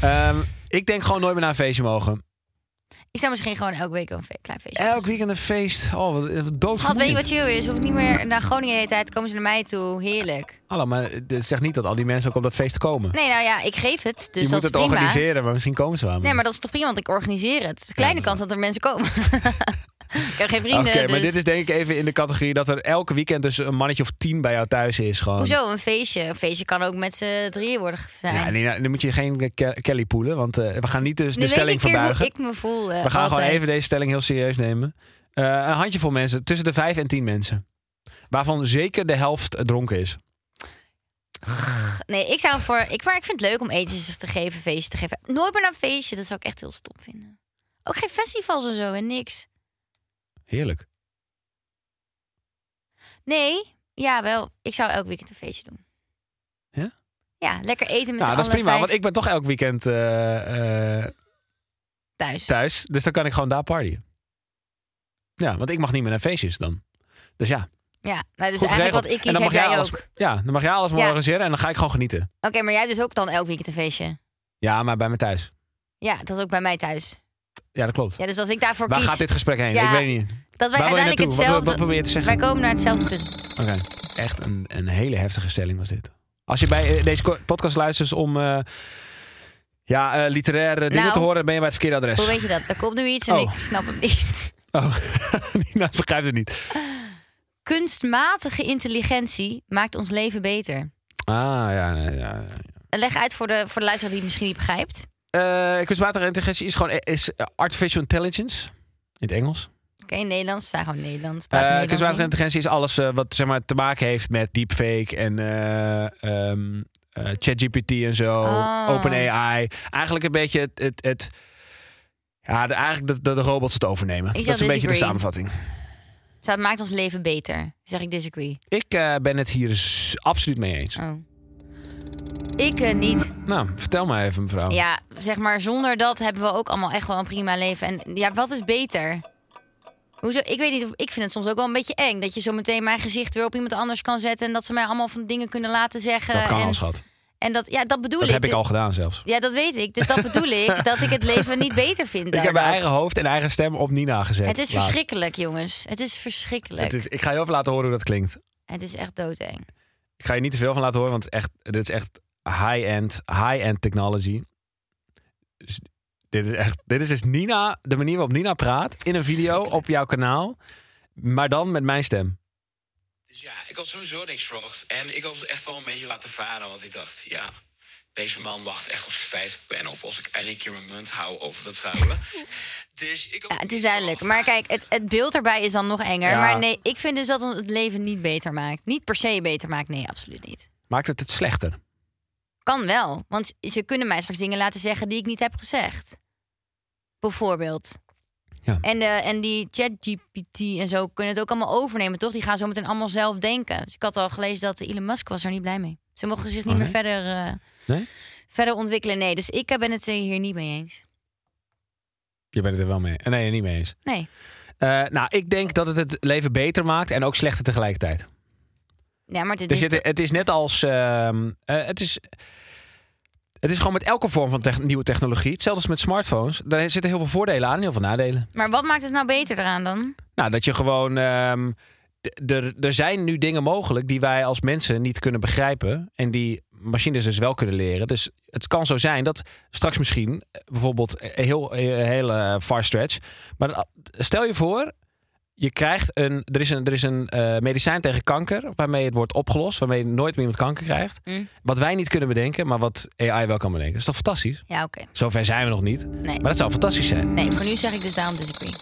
Speaker 1: Ehm, ik denk gewoon nooit meer naar een feestje mogen.
Speaker 2: Ik zou misschien gewoon elke week een fe- klein feestje
Speaker 1: Elk weekend een feest. Oh, wat, wat doodvermoeiend.
Speaker 2: Wat weet je wat chill is? Hoef ik niet meer naar Groningen de hele tijd. Komen ze naar mij toe. Heerlijk.
Speaker 1: Hallo, maar het zegt niet dat al die mensen ook op dat feest komen.
Speaker 2: Nee, nou ja, ik geef het.
Speaker 1: je
Speaker 2: Dus dat
Speaker 1: moet
Speaker 2: is
Speaker 1: het
Speaker 2: prima.
Speaker 1: organiseren, maar misschien komen ze wel.
Speaker 2: Nee, maar dat is toch prima, want ik organiseer het. Dus kleine kans dat er mensen komen. *laughs* ik heb geen vrienden,
Speaker 1: Oké, maar
Speaker 2: dus-
Speaker 1: dit is denk ik even in de categorie dat er elke weekend dus een mannetje of tien bij jou thuis is. Gewoon.
Speaker 2: Hoezo, een feestje? Een feestje kan ook met z'n drieën worden zijn.
Speaker 1: Ja, nee, nou, dan moet je geen eh, Ke- Kelly poelen, want eh, we gaan niet dus de
Speaker 2: nu weet
Speaker 1: stelling
Speaker 2: ik weer hoe
Speaker 1: verbuigen.
Speaker 2: ik me voel. eh,
Speaker 1: we gaan gewoon
Speaker 2: altijd.
Speaker 1: even deze stelling heel serieus nemen. Eh, een handjevol mensen, tussen de vijf en tien mensen. Waarvan zeker de helft eh, dronken is.
Speaker 2: Nee, ik zou voor. Ik, maar ik vind het leuk om etentjes te geven, feestjes te geven. Nooit meer naar een feestje, dat zou ik echt heel stom vinden. Ook geen festivals en zo en niks.
Speaker 1: Heerlijk.
Speaker 2: Nee, ja, wel. Ik zou elk weekend een feestje doen.
Speaker 1: Ja?
Speaker 2: Ja, lekker eten met
Speaker 1: Nou,
Speaker 2: z'n
Speaker 1: dat is
Speaker 2: allen
Speaker 1: prima,
Speaker 2: vijf
Speaker 1: want ik ben toch elk weekend eh, eh,
Speaker 2: thuis.
Speaker 1: thuis. Dus dan kan ik gewoon daar partyen. Ja, want ik mag niet meer naar feestjes dan. Dus ja,
Speaker 2: Ja, nou, dus
Speaker 1: goed
Speaker 2: eigenlijk
Speaker 1: geregeld.
Speaker 2: wat ik
Speaker 1: En
Speaker 2: kies,
Speaker 1: dan
Speaker 2: heb
Speaker 1: mag jij
Speaker 2: jij ook.
Speaker 1: alles, Ja, dan mag jij alles maar
Speaker 2: Ja.
Speaker 1: organiseren en dan ga ik gewoon genieten.
Speaker 2: Oké, maar jij hebt dus ook dan elk weekend een feestje.
Speaker 1: Ja, maar bij me thuis.
Speaker 2: Ja, dat is ook bij mij thuis.
Speaker 1: Ja, dat klopt.
Speaker 2: Ja, dus als ik daarvoor
Speaker 1: Waar
Speaker 2: kies,
Speaker 1: gaat dit gesprek heen?
Speaker 2: Ja.
Speaker 1: Ik weet niet.
Speaker 2: dat wij
Speaker 1: Waar wil je
Speaker 2: uiteindelijk
Speaker 1: naartoe? Wat- wat-
Speaker 2: hetzelfde...
Speaker 1: wat probeer je te zeggen?
Speaker 2: Wij komen naar hetzelfde
Speaker 1: *laughs*
Speaker 2: punt.
Speaker 1: Oké. Echt een, een hele heftige stelling was dit. Als je bij eh, deze ko- podcast luistert om eh, ja, eh, literaire dingen
Speaker 2: Nou.
Speaker 1: te horen, ben je bij het verkeerde
Speaker 2: Hoe
Speaker 1: adres.
Speaker 2: weet je dat? Er komt nu iets en
Speaker 1: Oh.
Speaker 2: ik snap het niet. *laughs*
Speaker 1: Oh, *laughs* Nina begrijpt het niet.
Speaker 2: Kunstmatige intelligentie maakt ons leven beter.
Speaker 1: Ah, ja. nee, ja.
Speaker 2: Leg uit voor de, voor de luisteraar die het misschien niet begrijpt.
Speaker 1: Eh, kunstmatige intelligentie is gewoon eh, is eh, artificial intelligence. In het Engels.
Speaker 2: Oké, Nederlands, we zijn gewoon Nederlands.
Speaker 1: Eh,
Speaker 2: praten Nederlands
Speaker 1: kunstmatige
Speaker 2: in.
Speaker 1: intelligentie is alles eh, wat zeg maar, te maken heeft met deepfake en eh, ehm, eh, ChatGPT en zo,
Speaker 2: Ah.
Speaker 1: OpenAI. Eigenlijk een beetje het. het, het ja, de, eigenlijk dat dat de, robots het overnemen.
Speaker 2: Ik
Speaker 1: dat is een
Speaker 2: zou
Speaker 1: beetje de
Speaker 2: disagree.
Speaker 1: samenvatting.
Speaker 2: Zo, Het maakt ons leven beter. Zeg ik disagree.
Speaker 1: Ik eh, ben het hier s- absoluut mee eens.
Speaker 2: Oh. Ik eh, niet.
Speaker 1: Nou, vertel maar even, mevrouw.
Speaker 2: Ja, zeg maar, zonder dat hebben we ook allemaal echt wel een prima leven. En ja, wat is beter? Hoezo? Ik weet niet of ik vind het soms ook wel een beetje eng dat je zo meteen mijn gezicht weer op iemand anders kan zetten en dat ze mij allemaal van dingen kunnen laten zeggen.
Speaker 1: dat kan
Speaker 2: en,
Speaker 1: al, schat.
Speaker 2: En dat, ja, dat bedoel
Speaker 1: Dat
Speaker 2: ik.
Speaker 1: heb ik
Speaker 2: Dus-
Speaker 1: al gedaan zelfs.
Speaker 2: Ja, dat weet ik. Dus dat bedoel
Speaker 1: *laughs*
Speaker 2: ik dat ik het leven niet beter vind.
Speaker 1: Ik heb mijn
Speaker 2: daardoor.
Speaker 1: eigen hoofd en eigen stem op Nina gezet.
Speaker 2: Het is
Speaker 1: laatst.
Speaker 2: verschrikkelijk, jongens. Het is verschrikkelijk.
Speaker 1: Het is, ik ga je even laten horen hoe dat klinkt.
Speaker 2: echt doodeng.
Speaker 1: Ik ga je niet te veel van laten horen, want het is echt, dit is echt high-end, high-end technology. Dus dit is echt, dit is dus Nina, de manier waarop Nina praat in een video op jouw kanaal, maar dan met mijn stem.
Speaker 5: Dus ja, ik had sowieso niks verwacht. En ik had het echt wel een beetje laten varen. Want ik dacht, ja, deze man wacht echt als ik 50 ben. Of als ik eindelijk een keer mijn munt hou over dat
Speaker 2: *laughs*
Speaker 5: vuilen. dus ik had
Speaker 2: Ja, het is
Speaker 5: niet
Speaker 2: duidelijk. Maar
Speaker 5: verwacht
Speaker 2: kijk, het, het beeld erbij is dan nog enger.
Speaker 1: Ja.
Speaker 2: Maar nee, ik vind dus dat ons het leven niet beter maakt. Niet per se beter maakt. Nee, absoluut niet.
Speaker 1: Maakt het het slechter?
Speaker 2: Kan wel. Want ze kunnen mij straks dingen laten zeggen die ik niet heb gezegd. Bijvoorbeeld.
Speaker 1: Ja.
Speaker 2: En, de, en die ChatGPT en zo kunnen het ook allemaal overnemen, toch? Die gaan zo meteen allemaal zelf denken. Dus ik had al gelezen dat Elon Musk was er niet blij mee. Ze mogen zich niet
Speaker 1: Oh,
Speaker 2: meer verder, eh,
Speaker 1: Nee?
Speaker 2: verder ontwikkelen. Nee, dus ik eh, ben het eh, hier niet mee eens.
Speaker 1: Je bent het er wel mee. eh, Nee, niet mee eens.
Speaker 2: Nee.
Speaker 1: Eh, nou, ik denk dat het het leven beter maakt en ook slechter tegelijkertijd.
Speaker 2: Ja, maar dit
Speaker 1: Dus
Speaker 2: is
Speaker 1: het, het is net als. ehm, eh, het is. Het is gewoon met elke vorm van tech- nieuwe technologie. Hetzelfde als met smartphones. Daar zitten heel veel voordelen aan en heel veel nadelen.
Speaker 2: Maar wat maakt het nou beter eraan dan?
Speaker 1: Nou, dat je gewoon. ehm, d- er- er zijn nu dingen mogelijk die wij als mensen niet kunnen begrijpen. En die machines dus wel kunnen leren. Dus het kan zo zijn dat straks misschien, eh, bijvoorbeeld, eh, heel, eh, heel eh, far stretch. Maar eh, stel je voor, je krijgt een. Er is een, er is een eh, medicijn tegen kanker. waarmee het wordt opgelost. waarmee je nooit meer iemand kanker krijgt.
Speaker 2: Mm.
Speaker 1: Wat wij niet kunnen bedenken, maar wat AI wel kan bedenken. Dat is toch fantastisch?
Speaker 2: Ja, oké.
Speaker 1: Zover zijn we nog niet.
Speaker 2: Nee.
Speaker 1: Maar dat zou fantastisch zijn.
Speaker 2: Nee, voor nu zeg ik dus daarom disagree.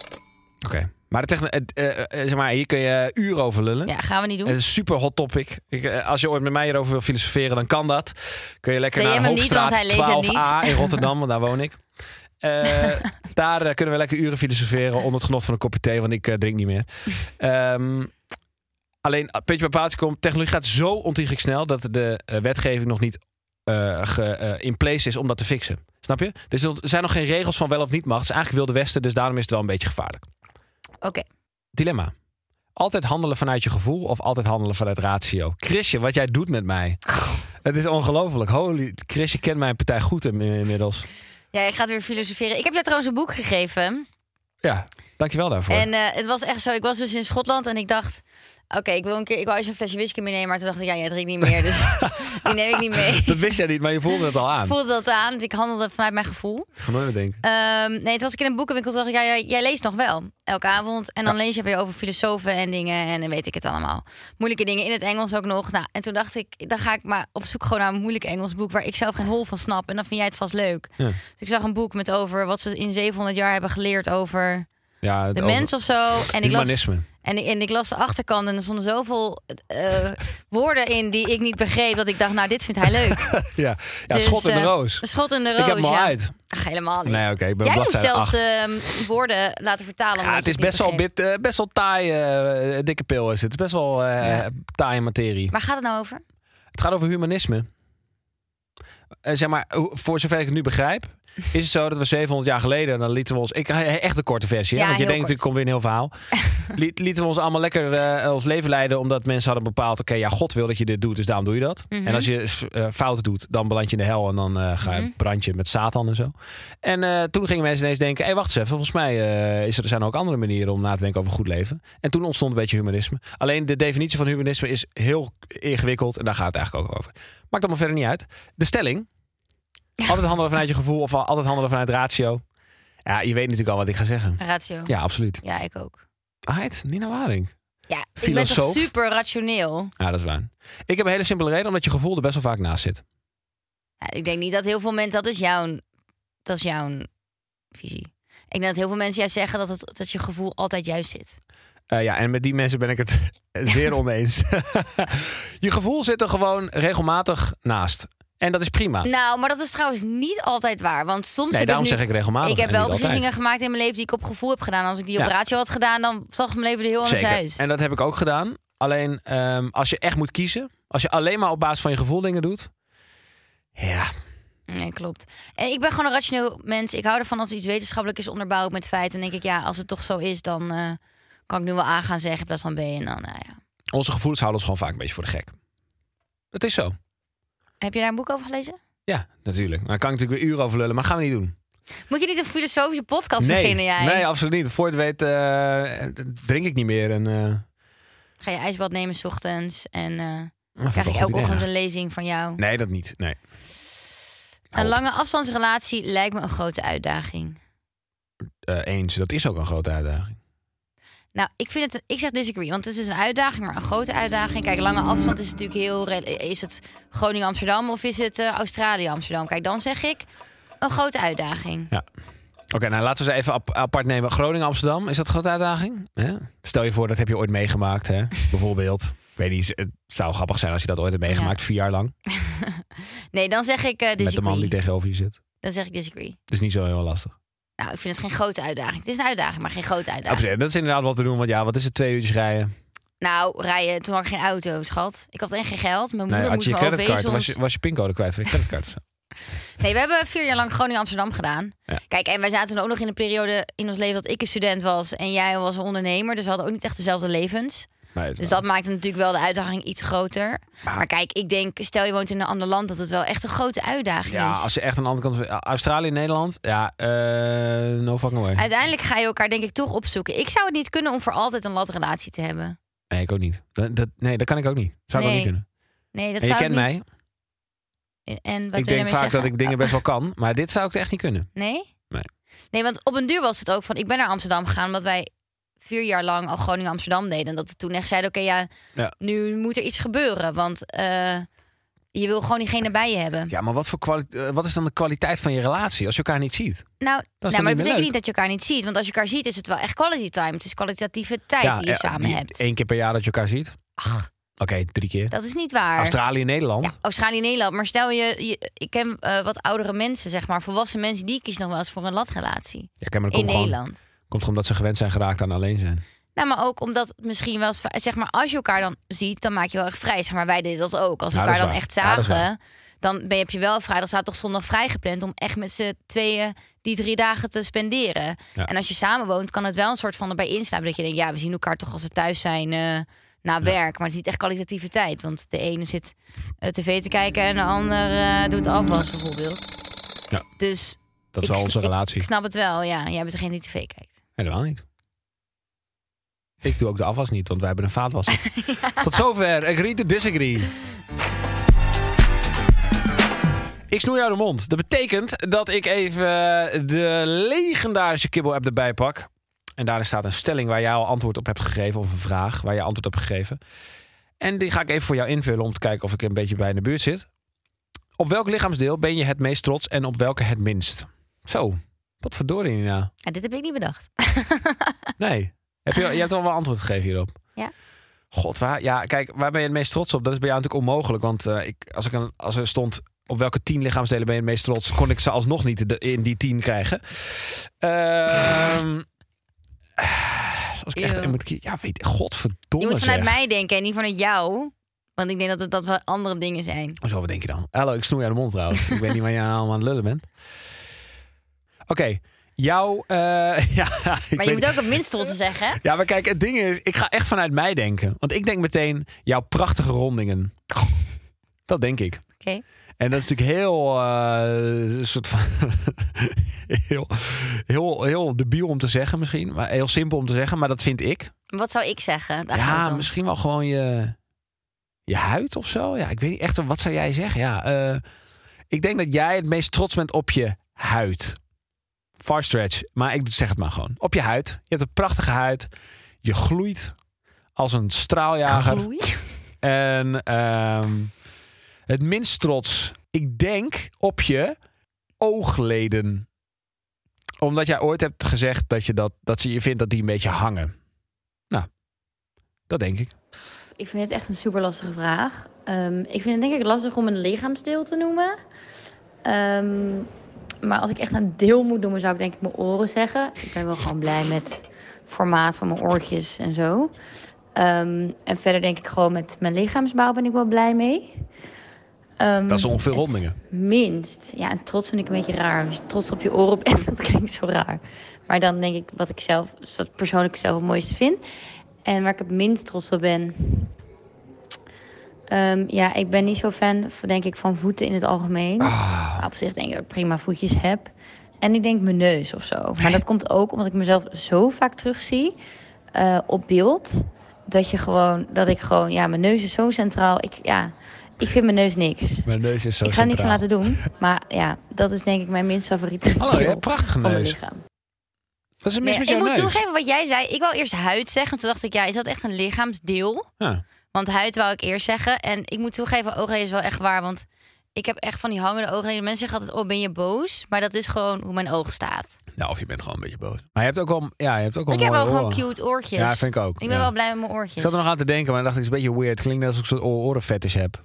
Speaker 1: Oké. Maar, de techno- het, eh, eh, zeg maar, hier kun je uren over lullen.
Speaker 2: Ja, gaan we niet
Speaker 1: Het
Speaker 2: doen.
Speaker 1: is een super hot topic. Ik, eh, als je ooit met mij hierover wil filosoferen, dan kan dat. Kun je lekker
Speaker 2: Nee,
Speaker 1: naar
Speaker 2: jij hem niet, want
Speaker 1: Hoogstraat
Speaker 2: hij leest het
Speaker 1: 12a in Rotterdam, want daar woon ik.
Speaker 2: *laughs*
Speaker 1: Eh, daar eh, kunnen we lekker uren filosoferen onder het genot van een kopje thee, want ik eh, drink niet meer. Ehm, alleen, eh, puntje bij paaltje komt, technologie gaat zo ontiegelijk snel dat de eh, wetgeving nog niet eh, ge- eh, in place is om dat te fixen. Snap je? Dus er zijn nog geen regels van wel of niet mag. Het is eigenlijk wilde westen, dus daarom is het wel een beetje gevaarlijk.
Speaker 2: Oké.
Speaker 1: Dilemma. Altijd handelen vanuit je gevoel of altijd handelen vanuit ratio? Chrisje, wat jij doet met mij. Het is ongelooflijk. Holy, Chrisje kent mijn partij goed in- inmiddels.
Speaker 2: Ja, ik ga het weer filosoferen. Ik heb jou trouwens een boek gegeven.
Speaker 1: Ja, dankjewel daarvoor.
Speaker 2: En eh, het was echt zo. Ik was dus in Schotland en ik dacht. Oké, ik wil een keer. Ik wou eens een flesje whisky meenemen. Maar toen dacht ik, ja, jij drinkt niet meer. Dus
Speaker 1: *laughs*
Speaker 2: die neem ik niet mee.
Speaker 1: Dat wist jij niet, maar je voelde het al aan.
Speaker 2: Ik voelde dat aan. Dus ik handelde vanuit mijn gevoel.
Speaker 1: Van nooit meer denken.
Speaker 2: Ehm, nee, toen was ik in een boekenwinkel. Toen dacht ik, ja, jij, jij leest nog wel. Elke avond. En dan lees je weer over filosofen en dingen. En dan weet ik het allemaal. Moeilijke dingen in het Engels ook nog. Nou, en toen dacht ik, dan ga ik maar op zoek gewoon naar een moeilijk Engels boek. Waar ik zelf geen hol van snap. En dan vind jij het vast leuk. Dus ik zag een boek met over wat ze in 700 jaar hebben geleerd over
Speaker 1: Ja,
Speaker 2: de
Speaker 1: over-
Speaker 2: mens of zo. En ik las,
Speaker 1: Humanisme.
Speaker 2: en, ik- en ik las de achterkant en er stonden zoveel
Speaker 1: *laughs*
Speaker 2: eh, woorden in die ik niet begreep. Dat ik dacht, nou, dit vindt hij leuk.
Speaker 1: Ja, ja
Speaker 2: Dus,
Speaker 1: schot in de
Speaker 2: eh,
Speaker 1: roos.
Speaker 2: Schot in de roos,
Speaker 1: Ik heb hem al
Speaker 2: ja.
Speaker 1: uit.
Speaker 2: Ach, helemaal niet.
Speaker 1: Nee, oké, ik ben
Speaker 2: Jij moest
Speaker 1: bladzijde
Speaker 2: zelfs ehm, woorden laten vertalen.
Speaker 1: Ja,
Speaker 2: omdat
Speaker 1: het
Speaker 2: je
Speaker 1: is best
Speaker 2: niet
Speaker 1: wel,
Speaker 2: begreep.
Speaker 1: bit, eh, best wel taai, eh, dikke pil is het. Het is best wel eh taaie materie.
Speaker 2: Waar gaat het nou over?
Speaker 1: Het gaat over humanisme. Eh, zeg maar, hoe- voor zover ik het nu begrijp, is het zo dat we 700 jaar geleden, dan lieten we ons. Ik eh, echt een korte versie, hè,
Speaker 2: Ja,
Speaker 1: want je
Speaker 2: heel
Speaker 1: denkt,
Speaker 2: kort.
Speaker 1: ik kom weer een heel verhaal.
Speaker 2: *laughs*
Speaker 1: Liet, lieten we ons allemaal lekker eh, ons leven leiden, omdat mensen hadden bepaald: oké, ja, God wil dat je dit doet, dus daarom doe je dat.
Speaker 2: Mhm.
Speaker 1: En als je eh, fout doet, dan beland je in de hel en dan eh, ga
Speaker 2: Mhm.
Speaker 1: je brand je met Satan en zo. En eh, toen gingen mensen ineens denken: hé, wacht eens even, volgens mij eh, is er, zijn er ook andere manieren om na te denken over goed leven. En toen ontstond een beetje humanisme. Alleen de definitie van humanisme is heel ingewikkeld en daar gaat het eigenlijk ook over. Maakt allemaal verder niet uit. De stelling. Altijd handelen vanuit je gevoel of altijd handelen vanuit ratio. Ja, je weet natuurlijk al wat ik ga zeggen.
Speaker 2: Ratio. Ja,
Speaker 1: Ja, absoluut.
Speaker 2: ik ook.
Speaker 1: Heid, Nina Waring.
Speaker 2: Ja, ik ben
Speaker 1: Filosoof.
Speaker 2: toch super rationeel.
Speaker 1: Ja, dat is waar. Ik heb een hele simpele reden, omdat je gevoel er best wel vaak naast zit.
Speaker 2: Ja, ik denk niet dat heel veel mensen... Dat is jouw, dat is jouw visie. Ik denk dat heel veel mensen juist zeggen dat, het, dat je gevoel altijd juist zit.
Speaker 1: Eh, ja, en met die mensen ben ik het *laughs* zeer oneens. *laughs* je gevoel zit er gewoon regelmatig naast. En dat is prima.
Speaker 2: Nou, maar dat is trouwens niet altijd waar. Want soms
Speaker 1: Nee,
Speaker 2: heb
Speaker 1: daarom
Speaker 2: ik nu-
Speaker 1: zeg ik regelmatig.
Speaker 2: Ik heb
Speaker 1: en
Speaker 2: wel
Speaker 1: niet altijd.
Speaker 2: beslissingen gemaakt in mijn leven die ik op gevoel heb gedaan. Als ik die op
Speaker 1: Ja.
Speaker 2: ratio had gedaan, dan zag mijn leven er heel anders uit.
Speaker 1: En dat heb ik ook gedaan. Alleen ehm, als je echt moet kiezen, als je alleen maar op basis van je gevoel dingen doet. Ja,
Speaker 2: Nee, klopt. En ik ben gewoon een rationeel mens. Ik hou ervan als iets wetenschappelijk is onderbouwd met feiten. En denk ik, ja, als het toch zo is, dan eh, kan ik nu wel A gaan zeggen in plaats van B. En dan, nou ja.
Speaker 1: onze gevoelens houden ons gewoon vaak een beetje voor de gek. Dat is zo.
Speaker 2: Heb je daar een boek over gelezen?
Speaker 1: Ja, natuurlijk. Daar kan ik natuurlijk weer uren over lullen, maar dat gaan we niet doen.
Speaker 2: Moet je niet een filosofische podcast
Speaker 1: nee,
Speaker 2: beginnen, jij?
Speaker 1: nee, absoluut niet. Voor je het weet eh, drink ik niet meer. En, eh,
Speaker 2: Ga je ijsbad nemen s ochtends en eh,
Speaker 1: dat vind
Speaker 2: krijg
Speaker 1: wel
Speaker 2: je
Speaker 1: een goed
Speaker 2: elke
Speaker 1: idee,
Speaker 2: ochtend
Speaker 1: ja.
Speaker 2: een lezing van jou.
Speaker 1: Nee, dat niet. Nee.
Speaker 2: een
Speaker 1: op.
Speaker 2: lange afstandsrelatie lijkt me een grote uitdaging.
Speaker 1: Eh, eens, dat is ook een grote uitdaging.
Speaker 2: Nou, ik vind het, ik zeg disagree, want het is een uitdaging, maar een grote uitdaging. Kijk, lange afstand is natuurlijk heel, rel- is het Groningen-Amsterdam of is het eh, Australië-Amsterdam? Kijk, dan zeg ik een grote uitdaging.
Speaker 1: Oké, nou laten we ze even ap- apart nemen. Groningen-Amsterdam, is dat een grote uitdaging? Hè? Stel je voor, dat heb je ooit meegemaakt,
Speaker 2: *laughs*
Speaker 1: hè? bijvoorbeeld. Ik weet niet, het zou grappig zijn als je dat ooit hebt meegemaakt, vier jaar lang.
Speaker 2: Nee, dan zeg ik eh
Speaker 1: Met de man die
Speaker 2: disagree.
Speaker 1: tegenover je zit.
Speaker 2: Dan zeg ik disagree.
Speaker 1: Dus niet zo heel lastig.
Speaker 2: Nou, ik vind het geen grote uitdaging. Het is een uitdaging, maar geen grote uitdaging.
Speaker 1: Absoluut, Dat is inderdaad wat te doen, want ja, wat is het, twee uurtjes rijden?
Speaker 2: Nou, rijden, toen had ik geen auto, schat. Ik had echt geen geld. Mijn moeder
Speaker 1: Nee, Nou had
Speaker 2: moest
Speaker 1: je je
Speaker 2: me
Speaker 1: creditcard, dan
Speaker 2: overwezen.
Speaker 1: was je, was je pincode kwijt van je creditcard.
Speaker 2: *laughs*
Speaker 1: of zo.
Speaker 2: Nee, we hebben vier jaar lang Groningen-Amsterdam gedaan. Kijk, en wij zaten ook nog in een periode in ons leven dat ik een student was en jij was een ondernemer. Dus we hadden ook niet echt dezelfde levens.
Speaker 1: Nee, dat is
Speaker 2: Dus
Speaker 1: waar.
Speaker 2: dat maakte natuurlijk wel de uitdaging iets groter. Maar kijk, ik denk, stel je woont in een ander land, dat het wel echt een grote uitdaging
Speaker 1: Ja,
Speaker 2: is.
Speaker 1: als je echt aan de andere kant... van- Australië, Nederland, ja, eh, no fucking way.
Speaker 2: Uiteindelijk ga je elkaar denk ik toch opzoeken. Ik zou het niet kunnen om voor altijd een latrelatie te hebben.
Speaker 1: Nee, ik ook niet. Dat, dat- nee, dat kan ik ook niet. Zou ik ook
Speaker 2: Nee.
Speaker 1: niet kunnen.
Speaker 2: Nee, dat
Speaker 1: en je
Speaker 2: zou
Speaker 1: kent
Speaker 2: ik niet.
Speaker 1: mij.
Speaker 2: En wat
Speaker 1: Ik
Speaker 2: wil je
Speaker 1: denk
Speaker 2: daarmee
Speaker 1: vaak
Speaker 2: zeggen?
Speaker 1: dat
Speaker 2: Ah,
Speaker 1: ik dingen best wel kan, maar dit zou ik echt niet kunnen.
Speaker 2: Nee?
Speaker 1: Nee.
Speaker 2: Nee, want op een duur was het ook van... Ik ben naar Amsterdam gegaan omdat wij vier jaar lang al Groningen-Amsterdam deden. En dat we toen echt zeiden, oké, ja,
Speaker 1: Ja.
Speaker 2: nu moet er iets gebeuren. Want eh, je wil gewoon diegene bij je hebben.
Speaker 1: Ja, maar wat, voor kwali- eh, wat is dan de kwaliteit van je relatie als je elkaar niet ziet?
Speaker 2: Nou,
Speaker 1: dan niet meer
Speaker 2: nou, maar dat betekent
Speaker 1: leuk.
Speaker 2: niet dat je elkaar niet ziet. Want als je elkaar ziet, is het wel echt quality time. Het is kwalitatieve tijd die je
Speaker 1: eh,
Speaker 2: samen hebt.
Speaker 1: Eén keer per jaar dat je elkaar ziet? Ach. Oké, drie keer.
Speaker 2: Dat is niet waar.
Speaker 1: Australië, Nederland.
Speaker 2: Ja, Australië-Nederland. Maar stel je, je ik ken eh, wat oudere mensen, zeg maar, volwassen mensen, die kiezen nog wel eens voor een latrelatie.
Speaker 1: Ja, kijk, maar dat
Speaker 2: In
Speaker 1: komt gewoon, komt
Speaker 2: Nederland.
Speaker 1: gewoon omdat ze gewend zijn geraakt aan alleen zijn.
Speaker 2: Nou, maar ook omdat het misschien wel eens, va- zeg maar, als je elkaar dan ziet, dan maak je wel echt vrij. Zeg maar, wij deden dat ook. Als we
Speaker 1: Ja, dat
Speaker 2: elkaar
Speaker 1: is
Speaker 2: dan
Speaker 1: waar.
Speaker 2: echt
Speaker 1: Ja, dat is
Speaker 2: zagen, dan ben, heb je wel vrij. Dan staat toch zondag vrij gepland om echt met z'n tweeën die drie dagen te spenderen.
Speaker 1: Ja.
Speaker 2: En als je samen woont, kan het wel een soort van erbij instaan. Dat je denkt, ja, we zien elkaar toch als we thuis zijn eh, na werk. Maar het is niet echt kwalitatieve tijd. Want de ene zit eh, tv te kijken en de ander eh, doet afwas bijvoorbeeld.
Speaker 1: Ja.
Speaker 2: Dus
Speaker 1: Dat is
Speaker 2: ik
Speaker 1: wel
Speaker 2: sn-
Speaker 1: onze relatie.
Speaker 2: Ik snap het wel, ja. Jij bent degene die tv kijkt.
Speaker 1: Helemaal niet. Ik doe ook de afwas niet, want wij hebben een vaatwasser. Tot zover. Agree to disagree. Ik snoei jou de mond. Dat betekent dat ik even eh, de legendarische kibbel-app erbij pak. En daarin staat een stelling waar jij al antwoord op hebt gegeven. Of een vraag waar je antwoord op hebt gegeven. En die ga ik even voor jou invullen om te kijken of ik een beetje bij in de buurt zit. Op welk lichaamsdeel ben je het meest trots en op welke het minst? Zo, wat verdorie Nina.
Speaker 2: Ja, dit heb ik niet bedacht.
Speaker 1: Nee. Heb je, je hebt al wel antwoord gegeven hierop.
Speaker 2: Ja.
Speaker 1: God, waar, ja, kijk, waar ben je het meest trots op? Dat is bij jou natuurlijk onmogelijk. Want eh, ik, als, ik een, als er stond op welke tien lichaamsdelen ben je het meest trots, kon ik ze alsnog niet de- in die tien krijgen. Ehm *sighs* als ik echt
Speaker 2: Eeuw.
Speaker 1: in moet kiezen. Ja, weet
Speaker 2: Je
Speaker 1: godverdomme.
Speaker 2: moet vanuit
Speaker 1: zeg.
Speaker 2: mij denken en niet vanuit jou. Want ik denk dat het dat wel andere dingen zijn.
Speaker 1: Zo, wat denk je dan? Hallo, ik snoei aan de mond trouwens. ik weet niet waar je nou allemaal aan het lullen bent. Oké, jouw... eh, *laughs* ja, ik
Speaker 2: Maar
Speaker 1: weet-
Speaker 2: je moet ook
Speaker 1: *laughs*
Speaker 2: het minst trots zeggen. hè?
Speaker 1: Ja, maar kijk, het ding is, ik ga echt vanuit mij denken. Want ik denk meteen, jouw prachtige rondingen. Dat denk ik.
Speaker 2: Oké.
Speaker 1: En dat is natuurlijk heel, eh, een soort van *laughs* heel, heel, heel debiel om te zeggen misschien. Maar heel simpel om te zeggen, maar dat vind ik.
Speaker 2: Maar Wat zou ik zeggen? Daar gaat het
Speaker 1: ja,
Speaker 2: om.
Speaker 1: misschien wel gewoon je, je huid of zo. Ja, ik weet niet echt, wat zou jij zeggen? Ja, eh, ik denk dat jij het meest trots bent op je huid. Far stretch, maar ik zeg het maar gewoon. Op je huid. Je hebt een prachtige huid. Je gloeit als een straaljager.
Speaker 2: Gloei. *laughs*
Speaker 1: En ehm, het minst trots, ik denk op je oogleden. Omdat jij ooit hebt gezegd dat je, dat, dat ze, je vindt dat die een beetje hangen. Nou, dat denk ik.
Speaker 6: Ik vind het echt een super lastige vraag. Ehm, ik vind het denk ik lastig om een lichaamsdeel te noemen. Ehm, maar als ik echt een deel moet noemen, zou ik denk ik mijn oren zeggen. Ik ben wel gewoon blij met het formaat van mijn oortjes en zo. Ehm, en verder denk ik gewoon met mijn lichaamsbouw ben ik wel blij mee. Ehm,
Speaker 1: Dat is ongeveer rondingen.
Speaker 6: Minst. Ja, en trots vind ik een beetje raar. Als je trots op je oren bent, *laughs* dat klinkt zo raar. Maar dan denk ik wat ik zelf, wat persoonlijk zelf het mooiste vind. En waar ik het minst trots op ben. Ehm, ja, ik ben niet zo fan, van, denk ik, van voeten in het algemeen. Maar op zich denk ik dat ik prima voetjes heb. En ik denk mijn neus of zo. Maar dat komt ook omdat ik mezelf zo vaak terugzie eh, op beeld. Dat, je gewoon, dat ik gewoon, ja, mijn neus is zo centraal. Ik, ja, ik vind mijn neus niks
Speaker 1: Mijn neus is zo
Speaker 6: ik ga niks aan laten doen. Maar ja, dat is denk ik mijn minst favoriete
Speaker 1: Hallo, je
Speaker 6: deel
Speaker 1: hebt een prachtige
Speaker 6: van mijn
Speaker 1: neus.
Speaker 6: lichaam.
Speaker 1: Wat is er mis
Speaker 2: Nee,
Speaker 1: met
Speaker 2: ik
Speaker 1: jouw
Speaker 2: moet
Speaker 1: neus?
Speaker 2: toegeven wat jij zei. Ik wou eerst huid zeggen. Toen dacht ik, ja, is dat echt een lichaamsdeel?
Speaker 1: Ja.
Speaker 2: Want huid wou ik eerst zeggen. En ik moet toegeven, oogleden is wel echt waar. Want ik heb echt van die hangende oogleden. Mensen zeggen altijd, oh, ben je boos? Maar dat is gewoon hoe mijn oog staat.
Speaker 1: Nou, of je bent gewoon een beetje boos. Maar je hebt ook wel, ja, je hebt ook wel
Speaker 2: ik heb wel
Speaker 1: mooie
Speaker 2: gewoon
Speaker 1: oren.
Speaker 2: cute oortjes.
Speaker 1: Ja, vind ik ook.
Speaker 2: Ik ben
Speaker 1: ja.
Speaker 2: wel blij met mijn oortjes.
Speaker 1: Ik zat er nog aan te denken, maar dan dacht ik, het is een beetje weird. Het klinkt net alsof ik zo'n orenfetish
Speaker 2: *laughs*
Speaker 1: heb.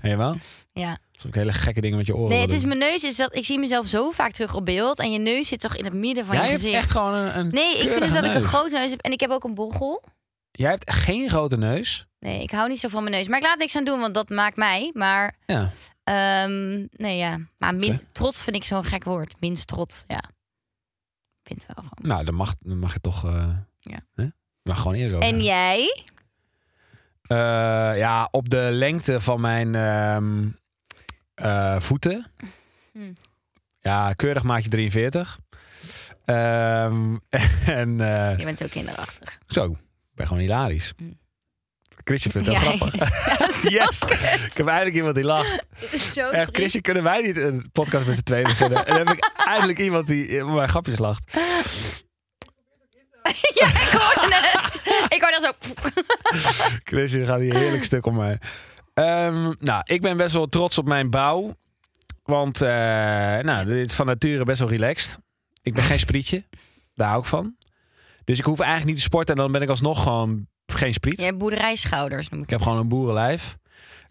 Speaker 1: Helemaal?
Speaker 2: Ja.
Speaker 1: Alsof ik hele gekke dingen met je oren
Speaker 2: Nee,
Speaker 1: wil
Speaker 2: het is
Speaker 1: doen.
Speaker 2: mijn neus. Is dat, ik zie mezelf zo vaak terug op beeld. En je neus zit toch in het midden van
Speaker 1: Jij
Speaker 2: je
Speaker 1: hebt
Speaker 2: gezicht.
Speaker 1: echt gewoon een, een
Speaker 2: nee, ik vind dus
Speaker 1: keurige
Speaker 2: dat ik een
Speaker 1: neus.
Speaker 2: grote neus heb. En ik heb ook een bochel.
Speaker 1: Jij hebt geen grote neus.
Speaker 2: Nee, ik hou niet zo van mijn neus. Maar ik laat niks aan doen, want dat maakt mij. Maar
Speaker 1: Ja.
Speaker 2: Ehm, nee, ja. Maar min-
Speaker 1: Oké.
Speaker 2: trots vind ik zo'n gek woord. Minst trots, ja. Vind wel gewoon.
Speaker 1: Nou, dan mag, dan mag je toch... eh,
Speaker 2: Ja.
Speaker 1: Hè? Mag gewoon eerder over.
Speaker 2: En jij?
Speaker 1: Eh, ja, op de lengte van mijn ehm, eh, voeten.
Speaker 2: Hm.
Speaker 1: Ja, keurig maatje 43. Ehm, *laughs* en eh,
Speaker 2: Je bent zo kinderachtig.
Speaker 1: zo, ik ben gewoon hilarisch.
Speaker 2: Hm.
Speaker 1: Chrisje vindt
Speaker 2: *laughs*
Speaker 1: het wel grappig. Yes! Ik heb eindelijk iemand die lacht.
Speaker 2: zo
Speaker 1: Echt,
Speaker 2: triest.
Speaker 1: Chrisje, kunnen wij niet een podcast met z'n tweeën beginnen? En dan heb ik eindelijk iemand die eh, mijn grapjes lacht.
Speaker 2: *laughs* ja, ik hoorde het. ik hoorde dat zo.
Speaker 1: Chrisje gaat hier heerlijk stuk om mij. Ehm, nou, ik ben best wel trots op mijn bouw. Want eh, nou, dit is van nature best wel relaxed. Ik ben geen sprietje. Daar hou ik van. Dus ik hoef eigenlijk niet te sporten. En dan ben ik alsnog gewoon geen spriet.
Speaker 2: Je hebt boerderijschouders, noem ik,
Speaker 1: Ik heb
Speaker 2: het.
Speaker 1: gewoon een boerenlijf.